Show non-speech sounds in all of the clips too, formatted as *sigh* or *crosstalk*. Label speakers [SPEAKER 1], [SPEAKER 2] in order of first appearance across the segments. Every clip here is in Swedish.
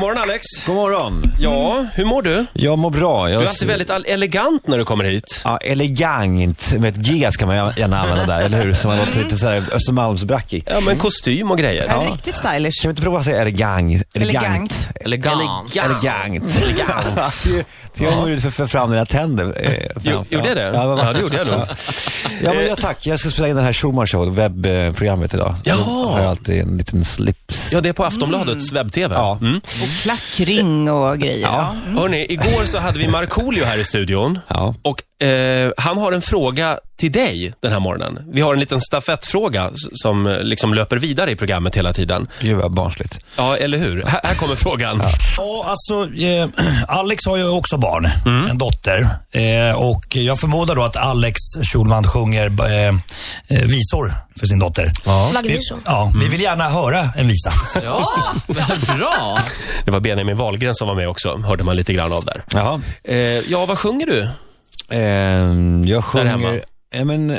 [SPEAKER 1] morgon Alex.
[SPEAKER 2] God morgon.
[SPEAKER 1] Ja, hur mår du?
[SPEAKER 2] Jag mår bra. Jag
[SPEAKER 1] Du är alltid väldigt al- elegant när du kommer hit.
[SPEAKER 2] Ja, elegant. Med ett G ska man gärna använda där, eller hur? Som man låter lite sådär Östermalmsbrackig.
[SPEAKER 1] Ja, men kostym och grejer.
[SPEAKER 3] Ja. Riktigt stylish.
[SPEAKER 2] Kan vi inte prova att säga elegant?
[SPEAKER 3] Elegant.
[SPEAKER 4] Elegant.
[SPEAKER 2] Elegant. *laughs* Elegant. Det gör man ju för, för fram dina tänder. eh,
[SPEAKER 1] Jo,
[SPEAKER 2] framför.
[SPEAKER 1] gjorde jag det?
[SPEAKER 2] Ja, vad-
[SPEAKER 1] Ja, det gjorde jag nog.
[SPEAKER 2] Ja, men ja, tack. Jag ska spela in den här Schumann Show, webbprogrammet idag.
[SPEAKER 1] Jaha.
[SPEAKER 2] Då har jag alltid en liten slips.
[SPEAKER 1] Ja, det är på Aftonbladets webb-tv.
[SPEAKER 2] Ja.
[SPEAKER 1] Mm.
[SPEAKER 3] Och klackring och grejer. Ja.
[SPEAKER 1] Hörni, igår så hade vi Markoolio här i studion.
[SPEAKER 2] Ja.
[SPEAKER 1] Och eh, han har en fråga till dig den här morgonen. Vi har en liten stafettfråga s- som eh, liksom löper vidare i programmet hela tiden.
[SPEAKER 2] Gud vad barnsligt.
[SPEAKER 1] Ja, eller hur? Här, här kommer frågan.
[SPEAKER 5] Ja, alltså eh, Alex har ju också barn, en dotter. Eh, och jag förmodar då att Alex Schulman sjunger eh, eh, visor för sin dotter. Ja. Vi, ja, vi vill gärna höra en visa.
[SPEAKER 4] Ja, vad bra.
[SPEAKER 1] *laughs* Det var Benjamin Wahlgren som var med också, hörde man lite grann av där.
[SPEAKER 2] Jaha.
[SPEAKER 1] Eh, ja, vad sjunger du?
[SPEAKER 2] Ehm, jag
[SPEAKER 1] hemma.
[SPEAKER 2] sjunger... Ja, men, eh,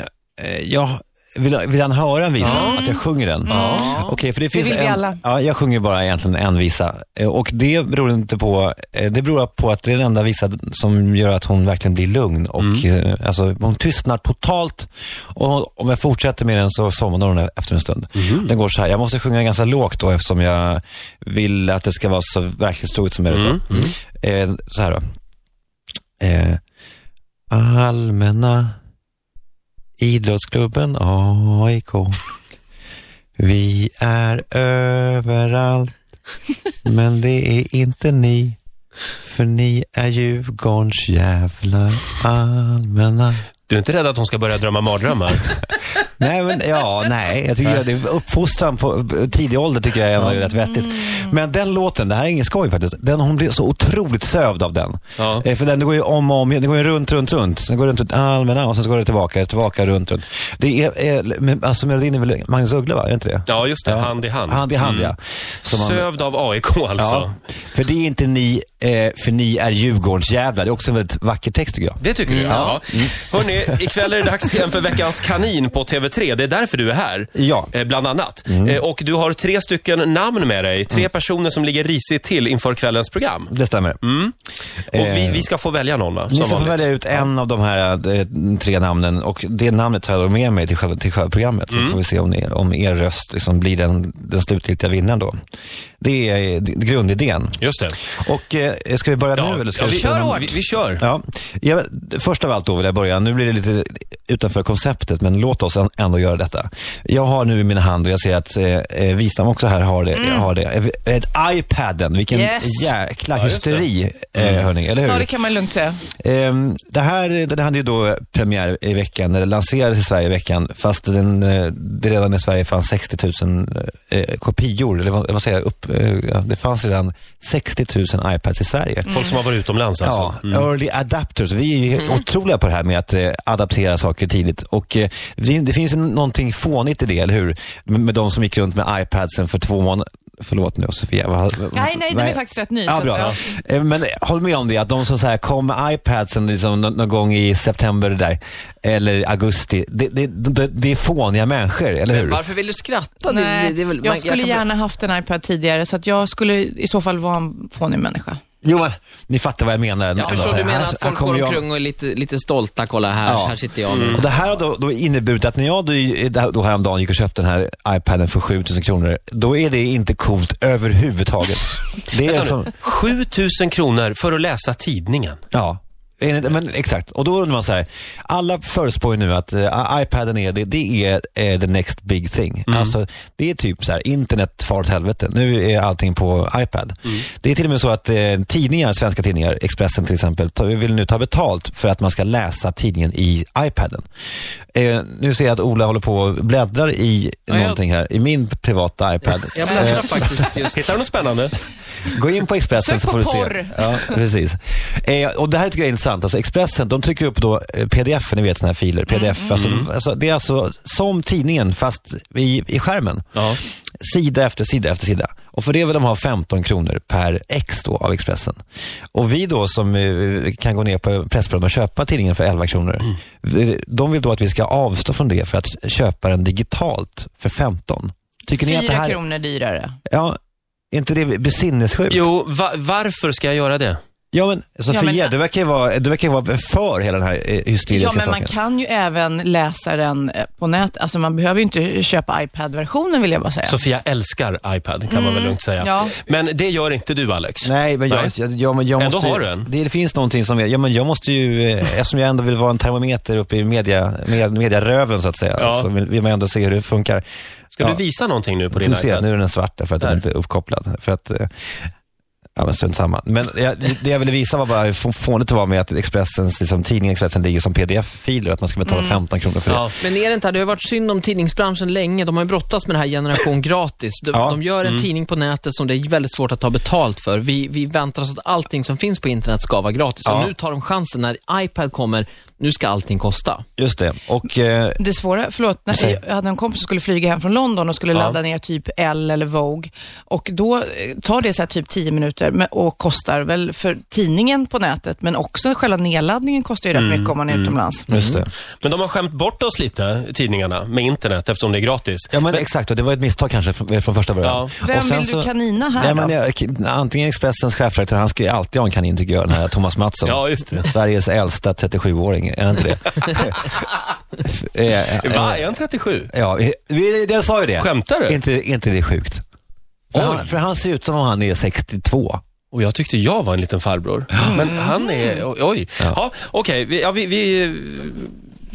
[SPEAKER 2] jag, vill, vill han höra en visa? Att jag sjunger den? Okej, för det finns
[SPEAKER 3] vill vi
[SPEAKER 2] en,
[SPEAKER 3] alla.
[SPEAKER 2] Ja, jag sjunger bara egentligen en visa. Eh, Och det beror inte på... eh, Det beror på att det är den enda visa som gör att hon verkligen blir lugn. Och,
[SPEAKER 3] Mm.
[SPEAKER 2] eh, alltså, hon tystnar totalt. Och om jag fortsätter med den så somnar hon efter en stund. Den går så här. Jag måste sjunga ganska lågt då eftersom jag vill att det ska vara så verklighetstroget som
[SPEAKER 1] Mm.
[SPEAKER 3] Mm.
[SPEAKER 2] möjligt. då. Eh, så här då. Eh, Allmänna idrottsklubben AIK. Vi är överallt, men det är inte ni. För ni är Djurgårdens jävla allmänna.
[SPEAKER 1] Du är inte rädd att hon ska börja drömma
[SPEAKER 2] *laughs*
[SPEAKER 1] mardrömmar?
[SPEAKER 2] Nej, men ja, nej. Jag tycker att det, uppfostran på tidig ålder tycker jag är rätt vettigt. Men den låten, det här är ingen skoj faktiskt. Den, hon blir så otroligt sövd av den.
[SPEAKER 1] Ja.
[SPEAKER 2] Eh, för den den går ju om och om igen. Den går ju runt, runt, runt. Sen går den runt, runt allmänna och sen så går det tillbaka, tillbaka, runt, runt. Det är, eh, men, alltså melodin är väl Magnus Uggla, va? Är det inte det?
[SPEAKER 1] Ja, Mm. just det. Hand i hand.
[SPEAKER 2] Hand i hand, ja. Som man-
[SPEAKER 1] Sövd av AIK alltså.
[SPEAKER 2] Ja, för det är inte ni, eh, för ni är Djurgårdens jävlar. Det är också en väldigt vacker text tycker jag.
[SPEAKER 1] Det tycker du? Ja.
[SPEAKER 2] Mm.
[SPEAKER 1] Hörni, ikväll är det dags igen för veckans kanin på TV3. Det är därför du är här.
[SPEAKER 2] Ja. Mm.
[SPEAKER 1] Eh, Bland annat. Eh, Och du har tre stycken namn med dig. Tre personer som ligger risigt till inför kvällens program.
[SPEAKER 2] Det stämmer.
[SPEAKER 1] Och vi,
[SPEAKER 2] Eh,
[SPEAKER 1] vi ska få välja någon va?
[SPEAKER 2] Ni
[SPEAKER 1] Mm, Som
[SPEAKER 2] ska få
[SPEAKER 1] vanligt.
[SPEAKER 2] välja ut en av de här eh, tre namnen och det namnet tar jag då med mig till själva, till själva programmet.
[SPEAKER 1] Mm.
[SPEAKER 2] Så får vi se om, ni, om er röst liksom blir den, den slutgiltiga vinnaren då. Det är eh, d- grundidén.
[SPEAKER 1] Just det.
[SPEAKER 2] Och eh, ska vi börja nu eller ska
[SPEAKER 1] ja,
[SPEAKER 2] vi
[SPEAKER 1] vi,
[SPEAKER 2] köra någon-
[SPEAKER 1] vi, vi kör.
[SPEAKER 2] Ja, jag, vet- först av allt då vill jag börja, nu blir det lite utanför konceptet, men låt oss en- ändå göra detta. Jag har nu i min hand, och jag ser att eh, eh, Wistam också här har det, har det. Eh, Ett iPaden, vilken
[SPEAKER 3] Yes.
[SPEAKER 2] jäkla
[SPEAKER 1] Ja, just det. Mm.
[SPEAKER 2] hysteri, eh, hörni, eller hur?
[SPEAKER 3] det kan man lugnt säga.
[SPEAKER 2] Ehm, det här den hade ju då premiär i veckan, eller lanserades i Sverige i veckan, fast den, eh, det redan i Sverige fanns 60 000 eh, kopior, eller vad, vad säger jag, upp, eh, ja, det fanns redan 60 000 iPads i Sverige.
[SPEAKER 1] Folk som har varit utomlands alltså.
[SPEAKER 2] Ja,
[SPEAKER 4] Mm.
[SPEAKER 2] early adapters. Vi är ju otroliga på det här med att eh, adaptera saker tidigt. Och eh, det, det finns en- någonting fånigt i det, eller hur? Med, med de som gick runt med iPadsen för två månader. Förlåt nu Sofia. vad-
[SPEAKER 3] Nej, nej, den är faktiskt rätt ny.
[SPEAKER 2] Ja,
[SPEAKER 3] så
[SPEAKER 2] bra.
[SPEAKER 3] att,
[SPEAKER 2] Eh, Men eh, håll med om det, att de som så här kom med iPadsen liksom nå- någon gång i september där, eller augusti, det, det, det, det är fåniga människor, eller hur?
[SPEAKER 4] Varför vill du skratta? Det-
[SPEAKER 3] Nej,
[SPEAKER 4] det- det är väl- man-
[SPEAKER 3] jag skulle
[SPEAKER 4] kan-
[SPEAKER 3] gärna haft en iPad tidigare, så att jag skulle i så fall vara en fånig människa.
[SPEAKER 2] Jo, men ni fattar vad jag menar.
[SPEAKER 4] Jag
[SPEAKER 2] Alltså,
[SPEAKER 4] förstår, du
[SPEAKER 2] här-
[SPEAKER 4] menar
[SPEAKER 2] här
[SPEAKER 4] att folk
[SPEAKER 2] kommer
[SPEAKER 4] går
[SPEAKER 2] jag-
[SPEAKER 4] omkring och är lite, lite stolta. Kolla här,
[SPEAKER 2] Ja. Mm.
[SPEAKER 4] här sitter jag.
[SPEAKER 2] Och det här har då, då inneburit att när jag då, då häromdagen gick och köpte den här iPaden för 7000 kronor, då är det inte coolt överhuvudtaget. Det är som,
[SPEAKER 1] 7 000 kronor för att läsa tidningen.
[SPEAKER 2] ja. Enligt- Men exakt, och då undrar man så här. Alla förutspår ju nu att eh, iPaden är, det, det är eh, the next big thing. Alltså, det är typ så här, internet far åt helvete. Nu är allting på iPad. Det är till och med så att eh, tidningar, svenska tidningar, Expressen till exempel, tar- vill nu ta betalt för att man ska läsa tidningen i iPaden. Eh, nu ser jag att Ola håller på och bläddrar i
[SPEAKER 4] jag-
[SPEAKER 2] någonting här, i min privata iPad.
[SPEAKER 4] Jag
[SPEAKER 2] Eh.
[SPEAKER 4] bläddrar
[SPEAKER 2] *laughs*
[SPEAKER 4] faktiskt just
[SPEAKER 1] Hittar du något spännande?
[SPEAKER 2] Gå in på Expressen så
[SPEAKER 3] Sök
[SPEAKER 2] får
[SPEAKER 3] på
[SPEAKER 2] du se.
[SPEAKER 3] porr.
[SPEAKER 2] Ja, precis. Eh, och det här tycker jag är intressant. Alltså Expressen, de trycker upp då eh, pdf, ni vet sådana här filer.
[SPEAKER 3] Mm,
[SPEAKER 2] Pdf, Alltså, alltså, det är alltså som tidningen fast i, i skärmen.
[SPEAKER 1] Ja.
[SPEAKER 2] Sida efter sida efter sida. Och för det vill de ha 15 kronor per ex då av Expressen. Och vi då som eh, kan gå ner på Pressbyrån och köpa tidningen för 11 kronor.
[SPEAKER 3] Mm.
[SPEAKER 2] vi- De vill då att vi ska avstå från det för att köpa den digitalt för 15. Tycker ni att det
[SPEAKER 3] Fyra
[SPEAKER 2] här...
[SPEAKER 3] kronor dyrare.
[SPEAKER 2] Ja, Är inte det besinnessjukt?
[SPEAKER 1] Jo, va- varför ska jag göra det?
[SPEAKER 2] Ja, men Sofia,
[SPEAKER 3] Ja, men-
[SPEAKER 2] du, verkar ju vara, du verkar ju vara för hela den här eh, hysteriska
[SPEAKER 3] Ja, men
[SPEAKER 2] saken.
[SPEAKER 3] man kan ju även läsa den eh, på nätet. Alltså man behöver ju inte köpa iPad-versionen vill jag bara säga.
[SPEAKER 1] Sofia älskar iPad, kan man väl lugnt säga.
[SPEAKER 3] ja.
[SPEAKER 1] Men det gör inte du, Alex.
[SPEAKER 2] Nej, men jag,
[SPEAKER 1] Nej.
[SPEAKER 2] Jag, ja, men jag
[SPEAKER 1] Ändå
[SPEAKER 2] måste ju,
[SPEAKER 1] har du en.
[SPEAKER 2] Det finns någonting som jag, ja, men jag måste ju, eh, eftersom jag ändå vill vara en termometer uppe i media, med, mediaröven så att säga,
[SPEAKER 1] Ja.
[SPEAKER 2] så vill, vill man ändå se hur det funkar.
[SPEAKER 1] Ska
[SPEAKER 2] ja.
[SPEAKER 1] du visa någonting nu på din
[SPEAKER 2] Du ser,
[SPEAKER 1] iPad?
[SPEAKER 2] nu är den svart där för att den inte är uppkopplad. För att, eh, ja men strunt samma. Men jag, det jag ville visa var bara hur få- fånigt det var med att Expressens, liksom, tidningen Expressen ligger som pdf-filer och att man ska
[SPEAKER 3] Mm.
[SPEAKER 2] betala 15 kronor för det.
[SPEAKER 1] Ja.
[SPEAKER 4] Men är det inte, här- det har varit synd om tidningsbranschen länge. De har ju brottats med den här generation gratis. De,
[SPEAKER 2] Ja. Mm.
[SPEAKER 4] de gör en tidning på nätet som det är väldigt svårt att ta betalt för. Vi, vi väntar oss att allting som finns på internet ska vara gratis.
[SPEAKER 2] Ja.
[SPEAKER 4] Och nu tar de chansen när iPad kommer. Nu ska allting kosta.
[SPEAKER 2] Just det. Och, eh,
[SPEAKER 3] Det svåra, förlåt,
[SPEAKER 2] Säg.
[SPEAKER 3] när jag hade en kompis som skulle flyga hem från London och skulle
[SPEAKER 1] Ja.
[SPEAKER 3] ladda ner typ Elle eller Vogue. Och då eh, tar det så här typ 10 minuter men- och kostar väl för tidningen på nätet, men också själva nedladdningen kostar
[SPEAKER 2] Mm,
[SPEAKER 3] ju rätt mycket om man är utomlands.
[SPEAKER 2] just det.
[SPEAKER 1] Men de har skämt bort oss lite, tidningarna, med internet, eftersom det är gratis.
[SPEAKER 2] Ja men, exakt, och det var ett misstag kanske från, från första början.
[SPEAKER 1] Ja.
[SPEAKER 3] Vem
[SPEAKER 2] och sen
[SPEAKER 3] vill du
[SPEAKER 2] så-
[SPEAKER 3] kanina här
[SPEAKER 2] Nej,
[SPEAKER 3] då?
[SPEAKER 2] men jag, antingen Expressens chefredaktör, han ska ju alltid ha en kanin tycker jag, den här Thomas Mattsson.
[SPEAKER 1] Ja, just det.
[SPEAKER 2] Sveriges äldsta 37-åring, är han inte
[SPEAKER 1] *laughs*
[SPEAKER 2] det? Eh, eh,
[SPEAKER 1] Va, är han 37?
[SPEAKER 2] Ja, vi- vi, jag sa ju det.
[SPEAKER 1] Skämtar du?
[SPEAKER 2] Inte, inte det är sjukt? För
[SPEAKER 1] Oj.
[SPEAKER 2] han, för han ser ut som om han är 62.
[SPEAKER 1] Och jag tyckte jag var en liten farbror. Men han är... o- Oj. Ja. Okej, vi, ja, vi, vi eh,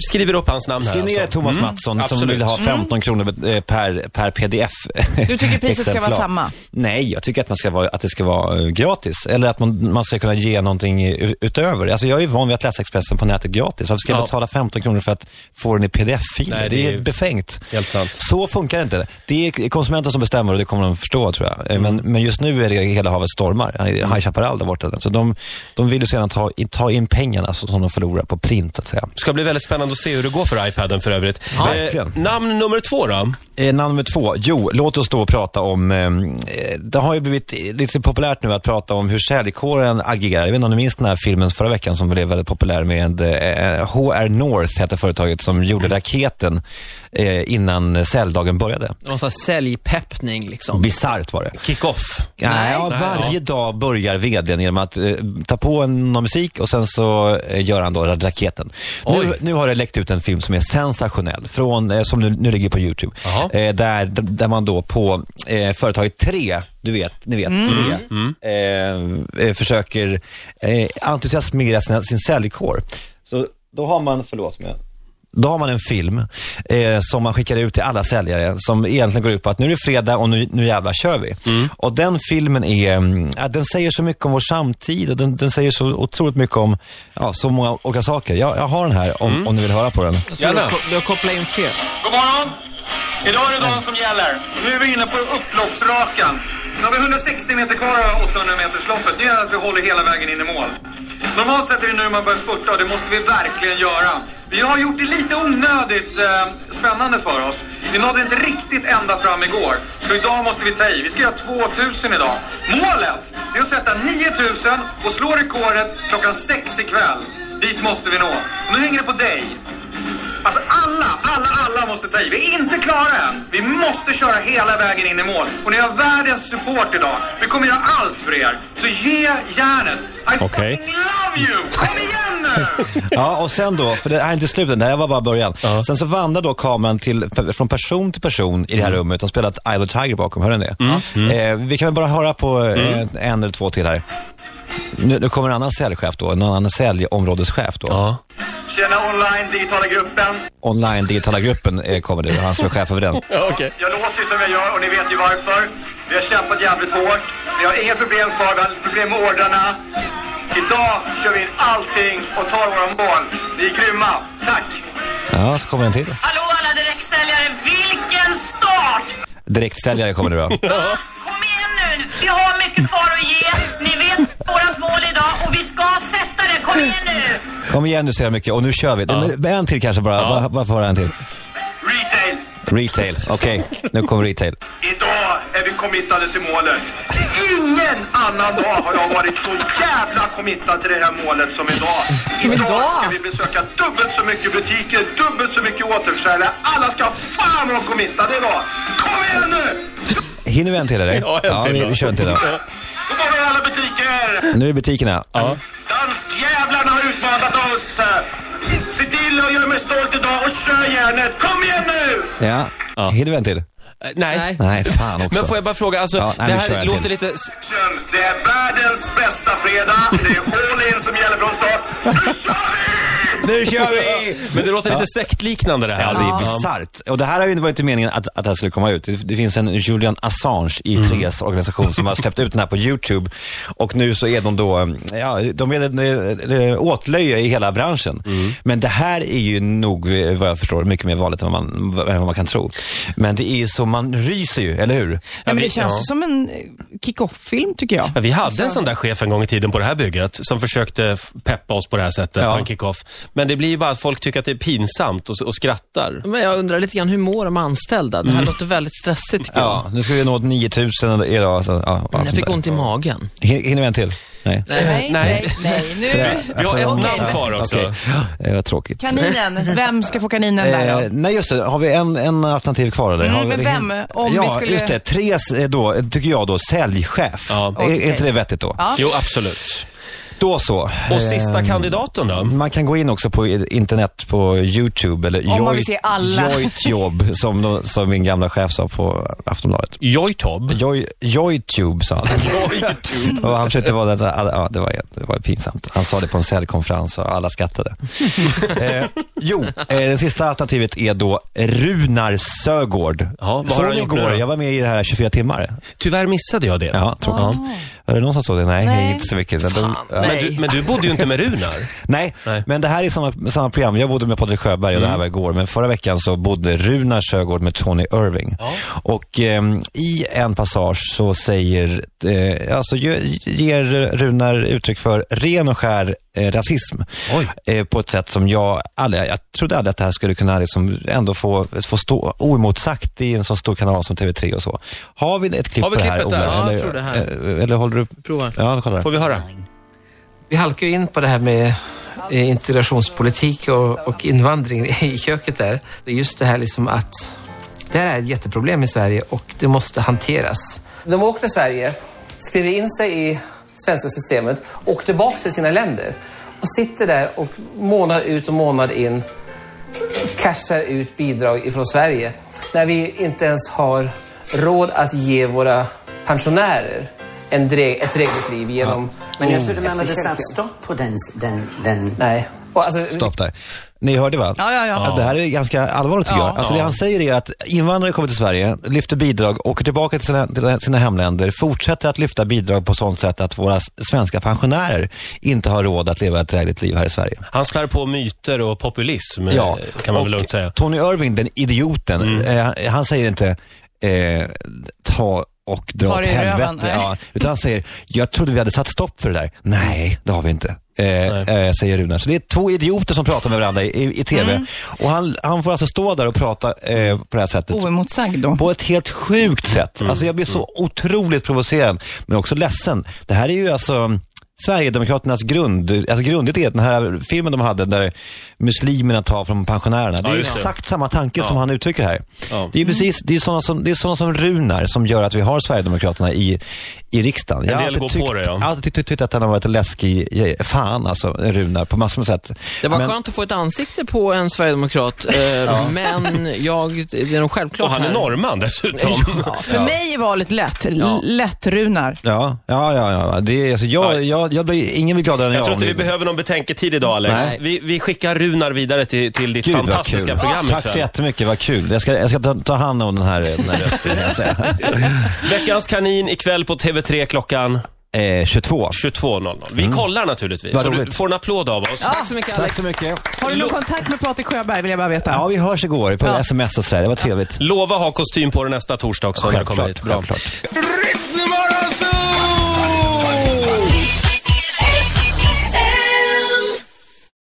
[SPEAKER 1] skriver upp hans namn här.
[SPEAKER 2] Skriv ner
[SPEAKER 1] alltså.
[SPEAKER 2] Thomas Mattsson som
[SPEAKER 1] absolut.
[SPEAKER 2] vill ha 15 kronor eh, per, per pdf.
[SPEAKER 3] Mm. Du tycker priset ska
[SPEAKER 2] exemplar.
[SPEAKER 3] vara samma?
[SPEAKER 2] Nej, jag tycker att, man ska vara, att det ska vara eh, gratis. Eller att man, man ska kunna ge någonting eh, utöver. Alltså, jag är ju van vid att läsa Expressen på nätet gratis. Varför ska jag
[SPEAKER 1] Ja.
[SPEAKER 2] betala 15 kronor för att få den i pdf-fil?
[SPEAKER 1] Nej,
[SPEAKER 2] Det,
[SPEAKER 1] det är
[SPEAKER 2] är
[SPEAKER 1] ju-
[SPEAKER 2] befängt.
[SPEAKER 1] Helt sant.
[SPEAKER 2] Så funkar det inte. Det är konsumenten som bestämmer och det kommer de förstå tror jag. Eh, Men,
[SPEAKER 1] Mm.
[SPEAKER 2] men just nu är det hela havet stormar. High Chaparral där borta. Så de, de vill ju sedan ta, ta in pengarna så- som de förlorar på print så att säga.
[SPEAKER 1] ska bli väldigt spännande att se hur det går för iPaden för övrigt. Eh,
[SPEAKER 2] Verkligen.
[SPEAKER 1] namn nummer två då?
[SPEAKER 2] Eh, namn nummer två. Jo, låt oss då prata om... Eh, det har ju blivit eh, lite populärt nu att prata om hur säljkåren agerar. Jag vet inte om ni minns den här filmen förra veckan som blev väldigt populär med eh, HR North, hette företaget som gjorde raketen eh, innan säljdagen började.
[SPEAKER 4] Det var en sån här säljpeppning liksom.
[SPEAKER 2] Bisarrt var det.
[SPEAKER 1] Kick-off.
[SPEAKER 2] Ja,
[SPEAKER 4] Nej.
[SPEAKER 2] ja,
[SPEAKER 1] Nej,
[SPEAKER 2] varje dag börjar vdn genom att eh, ta på en, någon musik och sen så eh, gör han då raketen. Nu, nu har det läckt ut en film som är sensationell, från, eh, som nu, nu ligger på YouTube.
[SPEAKER 1] Jaha.
[SPEAKER 2] Eh, där, där man då på eh, företaget Tre, du vet, ni vet,
[SPEAKER 1] Mm.
[SPEAKER 2] Tre, Eh, eh, försöker eh, entusiasmera sina, sin säljkår. Så då har man, förlåt mig, då har man en film eh, som man skickar ut till alla säljare som egentligen går ut på att nu är det fredag och nu, nu jävlar kör vi. Och den filmen är, mm, ja, den säger så mycket om vår samtid och den, den säger så otroligt mycket om ja, så många olika saker. Jag, jag har den här om, om ni vill höra på den.
[SPEAKER 4] Du
[SPEAKER 1] Gärna.
[SPEAKER 4] har, ko- du har kopplat in fel.
[SPEAKER 6] God morgon! Idag är det dagen som gäller. Nu är vi inne på upploppsrakan. Nu har vi 160 meter kvar av 800 metersloppet. Det gäller att vi håller hela vägen in i mål. Normalt sett är det nu man börjar spurta och det måste vi verkligen göra. Vi har gjort det lite onödigt eh, spännande för oss. Vi nådde inte riktigt ända fram igår. Så idag måste vi ta i. Vi ska göra 2000 idag. Målet är att sätta 9000 och slå rekordet klockan 6 ikväll. Dit måste vi nå. Nu hänger det på dig. Alltså alla, alla, alla måste ta i. Vi är inte klara än. Vi måste köra hela vägen in i mål. Och ni har världens support idag. Vi kommer göra allt för er. Så ge järnet. I
[SPEAKER 1] Okej.
[SPEAKER 6] fucking love you! Kom igen nu!
[SPEAKER 2] Ja, och sen då, för det här är inte slutet, det här var bara början.
[SPEAKER 1] Ja.
[SPEAKER 2] Sen så vandrar då kameran till, från person till person i det
[SPEAKER 1] Mm.
[SPEAKER 2] här rummet. De spelat Isle of Tiger bakom, hör ni det? Eh, vi kan väl bara höra på eh,
[SPEAKER 1] Mm.
[SPEAKER 2] en eller två till här. Nu, nu kommer en annan säljchef då, en annan säljområdeschef då.
[SPEAKER 1] Ja.
[SPEAKER 6] Tjena online, digitala gruppen.
[SPEAKER 2] Online digitala gruppen eh, kommer nu, han som är chef över den.
[SPEAKER 6] Jag låter ju som jag gör och ni vet ju varför. Vi har kämpat jävligt hårt. Vi har inga problem kvar, vi har lite problem med ordrarna. Idag kör vi in allting och tar våra mål. Ni är grymma. Tack!
[SPEAKER 2] Ja, så kommer en till.
[SPEAKER 7] Hallå alla direktsäljare, vilken start!
[SPEAKER 2] Direktsäljare kommer nu då.
[SPEAKER 7] Kom igen nu, vi har mycket kvar att ge. Ni vet vårt mål idag och vi ska sätta det. Kom igen nu!
[SPEAKER 2] Kom igen nu ser jag mycket och nu kör vi. Men En till kanske bara, bara, bara få höra en till.
[SPEAKER 6] Retail!
[SPEAKER 2] Retail, okej. Nu kommer retail.
[SPEAKER 6] Idag är vi committade till målet. Ingen annan dag har jag varit så jävla committad till det här målet som idag. Idag ska vi besöka dubbelt så mycket butiker, dubbelt så mycket återförsäljare. Alla ska fan vara committade idag. Kom igen nu!
[SPEAKER 2] Hinner vi en till eller?
[SPEAKER 1] Ja, en till
[SPEAKER 2] vi,
[SPEAKER 1] då.
[SPEAKER 2] vi kör en till då.
[SPEAKER 6] God morgon alla butiker!
[SPEAKER 2] Nu är butikerna. Ja.
[SPEAKER 6] Danskjävlarna har utmanat oss! Se till och gör mig stolt idag och kör järnet! Kom igen nu!
[SPEAKER 2] ja. Hinner vi en till?
[SPEAKER 1] Eh, Nej.
[SPEAKER 4] Nej.
[SPEAKER 2] Nej, fan också.
[SPEAKER 1] Men får jag bara fråga, alltså,
[SPEAKER 2] Ja, nej,
[SPEAKER 1] det
[SPEAKER 2] nu kör
[SPEAKER 1] här
[SPEAKER 2] jag
[SPEAKER 1] låter
[SPEAKER 2] till.
[SPEAKER 1] lite...
[SPEAKER 6] Action! Det är världens bästa fredag. Det är all-in som gäller från start. Nu kör vi!
[SPEAKER 2] Nu kör vi!
[SPEAKER 1] Men det låter lite sektliknande det här.
[SPEAKER 2] Ja, det är bisarrt. Och det här har ju inte varit meningen att, att det här skulle komma ut. Det, det finns en Julian Assange i
[SPEAKER 1] Mm.
[SPEAKER 2] Tres organisation som har släppt ut den här på YouTube. Och nu så är de då, eh, ja, de är ett, eh, eh, åtlöje i hela branschen.
[SPEAKER 1] Mm.
[SPEAKER 2] Men det här är ju nog, eh, vad jag förstår, mycket mer vanligt än vad man, vad- än vad man kan tro. Men det är ju så, man ryser ju, eller hur?
[SPEAKER 3] Nej, men det
[SPEAKER 1] vi-
[SPEAKER 3] känns
[SPEAKER 1] ja.
[SPEAKER 3] ju som en eh, kick-off-film tycker jag.
[SPEAKER 1] Ja, vi hade en sån där chef en gång i tiden på det här bygget som försökte f- peppa oss på det här sättet
[SPEAKER 2] Ja.
[SPEAKER 1] på en kick-off. Men det blir ju bara att folk tycker att det är pinsamt och, s- och skrattar.
[SPEAKER 4] Men jag undrar lite grann, hur mår de anställda? Det här låter väldigt stressigt tycker jag.
[SPEAKER 2] Mm. Ja, nu ska vi nå 9000 idag. Så, ja, allt
[SPEAKER 4] Jag
[SPEAKER 2] sånt
[SPEAKER 4] fick
[SPEAKER 2] där.
[SPEAKER 4] ont i magen. Eh,
[SPEAKER 2] Hin- Hinner vi en till? Nej.
[SPEAKER 3] Nej,
[SPEAKER 1] Nej.
[SPEAKER 3] nej, nej. Nu.
[SPEAKER 1] Vi har ett
[SPEAKER 2] Okej.
[SPEAKER 1] namn kvar också.
[SPEAKER 2] Okej. Eh, Vad tråkigt.
[SPEAKER 3] Kaninen, vem ska få kaninen där
[SPEAKER 2] Eh,
[SPEAKER 3] då?
[SPEAKER 2] nej, just det. Har vi en, en alternativ kvar? Eller?
[SPEAKER 3] Mm,
[SPEAKER 2] har vi,
[SPEAKER 3] men vem? Om vi
[SPEAKER 2] ja,
[SPEAKER 3] skulle-
[SPEAKER 2] just det. Tres, eh, då, eh, tycker jag då, säljchef.
[SPEAKER 1] Ja.
[SPEAKER 2] Är, är inte det vettigt då?
[SPEAKER 3] Ja.
[SPEAKER 1] Jo, absolut.
[SPEAKER 2] Då så.
[SPEAKER 1] Och
[SPEAKER 2] Eh.
[SPEAKER 1] sista kandidaten då?
[SPEAKER 2] Man kan gå in också på i- internet på YouTube eller
[SPEAKER 3] Om man
[SPEAKER 2] Joy-
[SPEAKER 3] vill se alla.
[SPEAKER 2] Joytube som, de, som min gamla chef sa på Aftonbladet.
[SPEAKER 1] Joytob.
[SPEAKER 2] Joy, Joytube sa han.
[SPEAKER 1] Joytube.
[SPEAKER 2] Och han försökte vara den så här, ja, det, var, det var pinsamt. Han sa det på en säljkonferens och
[SPEAKER 1] *laughs*
[SPEAKER 2] alla skrattade. eh, jo, eh, det sista alternativet är då Runar Sögaard.
[SPEAKER 1] Ja, vad har
[SPEAKER 2] Såg
[SPEAKER 1] han
[SPEAKER 2] ni
[SPEAKER 1] gjort nu
[SPEAKER 2] igår,
[SPEAKER 1] då?
[SPEAKER 2] jag var med i det här 24 timmar.
[SPEAKER 1] Tyvärr missade jag det.
[SPEAKER 2] Ja, tråkigt. Var det någon som såg det? Nej, inte så mycket. Men de- ja.
[SPEAKER 1] Men, du, men du bodde ju inte med Runar.
[SPEAKER 2] Nej,
[SPEAKER 1] Nej. Mm.
[SPEAKER 2] men det här är samma, samma program. Jag bodde med Patrik Sjöberg och det här var igår, men förra veckan så bodde Runar Sjögård med Tony Irving. Och ehm, i en passage så säger, eh, alltså ge, ger Runar uttryck för ren och skär eh, rasism. Eh, på ett sätt som jag aldrig, jag trodde aldrig att det här skulle kunna liksom ändå få, få stå oemotsagt i en så stor kanal som TV3 och så. Har vi ett klipp
[SPEAKER 1] Har vi
[SPEAKER 2] på det här?
[SPEAKER 1] klippet där?
[SPEAKER 2] Ola?
[SPEAKER 4] Ja, jag
[SPEAKER 2] eller,
[SPEAKER 4] tror det här.
[SPEAKER 2] eh, eller håller du?
[SPEAKER 4] Prova.
[SPEAKER 2] Ja, kolla.
[SPEAKER 1] Får vi höra?
[SPEAKER 8] Vi halkar ju in på det här med eh, integrationspolitik och, och invandring *laughs* i köket där. Det är just det här liksom att det här är ett jätteproblem i Sverige och det måste hanteras. De åkte till Sverige, skrev in sig i svenska systemet, åkte tillbaka till sina länder och sitter där och månad ut och månad in cashar ut bidrag ifrån Sverige när vi inte ens har råd att ge våra pensionärer en dre- ett drägligt liv genom...
[SPEAKER 9] Men jag trodde man hade
[SPEAKER 8] efterkälken.
[SPEAKER 9] satt stopp på den... den, den.
[SPEAKER 8] Nej. Och alltså,
[SPEAKER 2] Stopp där. Ni hörde va?
[SPEAKER 3] Eh, Ja, ja, ja.
[SPEAKER 2] Att Det här är ganska allvarligt tycker jag. Alltså det han säger är att invandrare kommer till Sverige, lyfter bidrag, åker tillbaka till sina, till sina hemländer, fortsätter att lyfta bidrag på sånt sätt att våra s- svenska pensionärer inte har råd att leva ett drägligt liv här i Sverige.
[SPEAKER 1] Han skär på myter och populism,
[SPEAKER 2] Ja.
[SPEAKER 1] eh, kan man väl
[SPEAKER 2] Och
[SPEAKER 1] lugnt säga. Mm.
[SPEAKER 2] Tony Irving, den idioten, eh, han säger inte eh, ta och dra
[SPEAKER 3] Ta
[SPEAKER 2] åt
[SPEAKER 3] det i röven,
[SPEAKER 2] helvete.
[SPEAKER 3] nej.
[SPEAKER 2] Ja, utan han säger, jag trodde vi hade satt stopp för det där. Nej, det har vi inte. Eh, eh, säger Runar. Så det är två idioter som pratar med varandra i, i, i TV.
[SPEAKER 3] Mm.
[SPEAKER 2] Och han, han får alltså stå där och prata eh, på det här sättet.
[SPEAKER 3] Oemotsagd då.
[SPEAKER 2] På ett helt sjukt sätt.
[SPEAKER 1] Mm,
[SPEAKER 2] Alltså jag blir så otroligt provocerad, men också ledsen. Det här är ju alltså Sverigedemokraternas grund, alltså grundet är den här filmen de hade där muslimerna tar från pensionärerna. Det är ju
[SPEAKER 1] just det.
[SPEAKER 2] exakt samma tanke som han uttrycker här.
[SPEAKER 1] Ja.
[SPEAKER 2] Det är ju precis, det är sådana som, det är sådana som Runar som gör att vi har Sverigedemokraterna i, i riksdagen. Jag har
[SPEAKER 1] del
[SPEAKER 2] alltid
[SPEAKER 1] går på det,
[SPEAKER 2] tyckt,
[SPEAKER 1] ja.
[SPEAKER 2] alltid tyckt, tyckt att han har varit en läskig, je- fan alltså, Runar, på massor med sätt.
[SPEAKER 4] Det var
[SPEAKER 2] Men-
[SPEAKER 4] skönt att få ett ansikte på en sverigedemokrat, eh, men jag, det är nog självklart
[SPEAKER 1] Och han är
[SPEAKER 4] här.
[SPEAKER 1] norrman dessutom. *laughs*
[SPEAKER 3] För mig är valet lätt. L- lätt Runar.
[SPEAKER 2] Ja, ja, ja. ja. Det är, alltså, jag,
[SPEAKER 1] Ja.
[SPEAKER 2] jag, jag blir, ingen blir gladare än jag.
[SPEAKER 1] Jag tror
[SPEAKER 2] om
[SPEAKER 1] inte vi
[SPEAKER 2] det-
[SPEAKER 1] behöver någon betänketid idag, Alex.
[SPEAKER 2] Nej.
[SPEAKER 1] Vi, vi skickar Runar vidare till, till ditt
[SPEAKER 2] Gud, vad
[SPEAKER 1] fantastiska
[SPEAKER 2] kul.
[SPEAKER 1] program
[SPEAKER 2] Tack så
[SPEAKER 1] ikväll.
[SPEAKER 2] jättemycket, vad kul. Jag ska, jag ska ta, ta hand om den här, den här rösten, kan jag säga.
[SPEAKER 1] Veckans kanin ikväll på TV3 klockan
[SPEAKER 2] Eh, 22.
[SPEAKER 1] 22.00. Vi kollar naturligtvis.
[SPEAKER 2] Mm. Vad
[SPEAKER 1] Så du
[SPEAKER 2] roligt.
[SPEAKER 1] får en applåd av oss.
[SPEAKER 4] Tack så mycket
[SPEAKER 2] Tack
[SPEAKER 4] Alex.
[SPEAKER 2] så mycket.
[SPEAKER 3] Har du någon kontakt med Patrik Sjöberg vill jag bara veta.
[SPEAKER 2] Ja, vi hörs igår på
[SPEAKER 3] Ja.
[SPEAKER 2] sms och sådär. Det var trevligt.
[SPEAKER 1] Lova ha kostym på dig nästa torsdag också. när du kommer hit. Bra.
[SPEAKER 2] självklart.
[SPEAKER 8] Ritzmorgonzoo!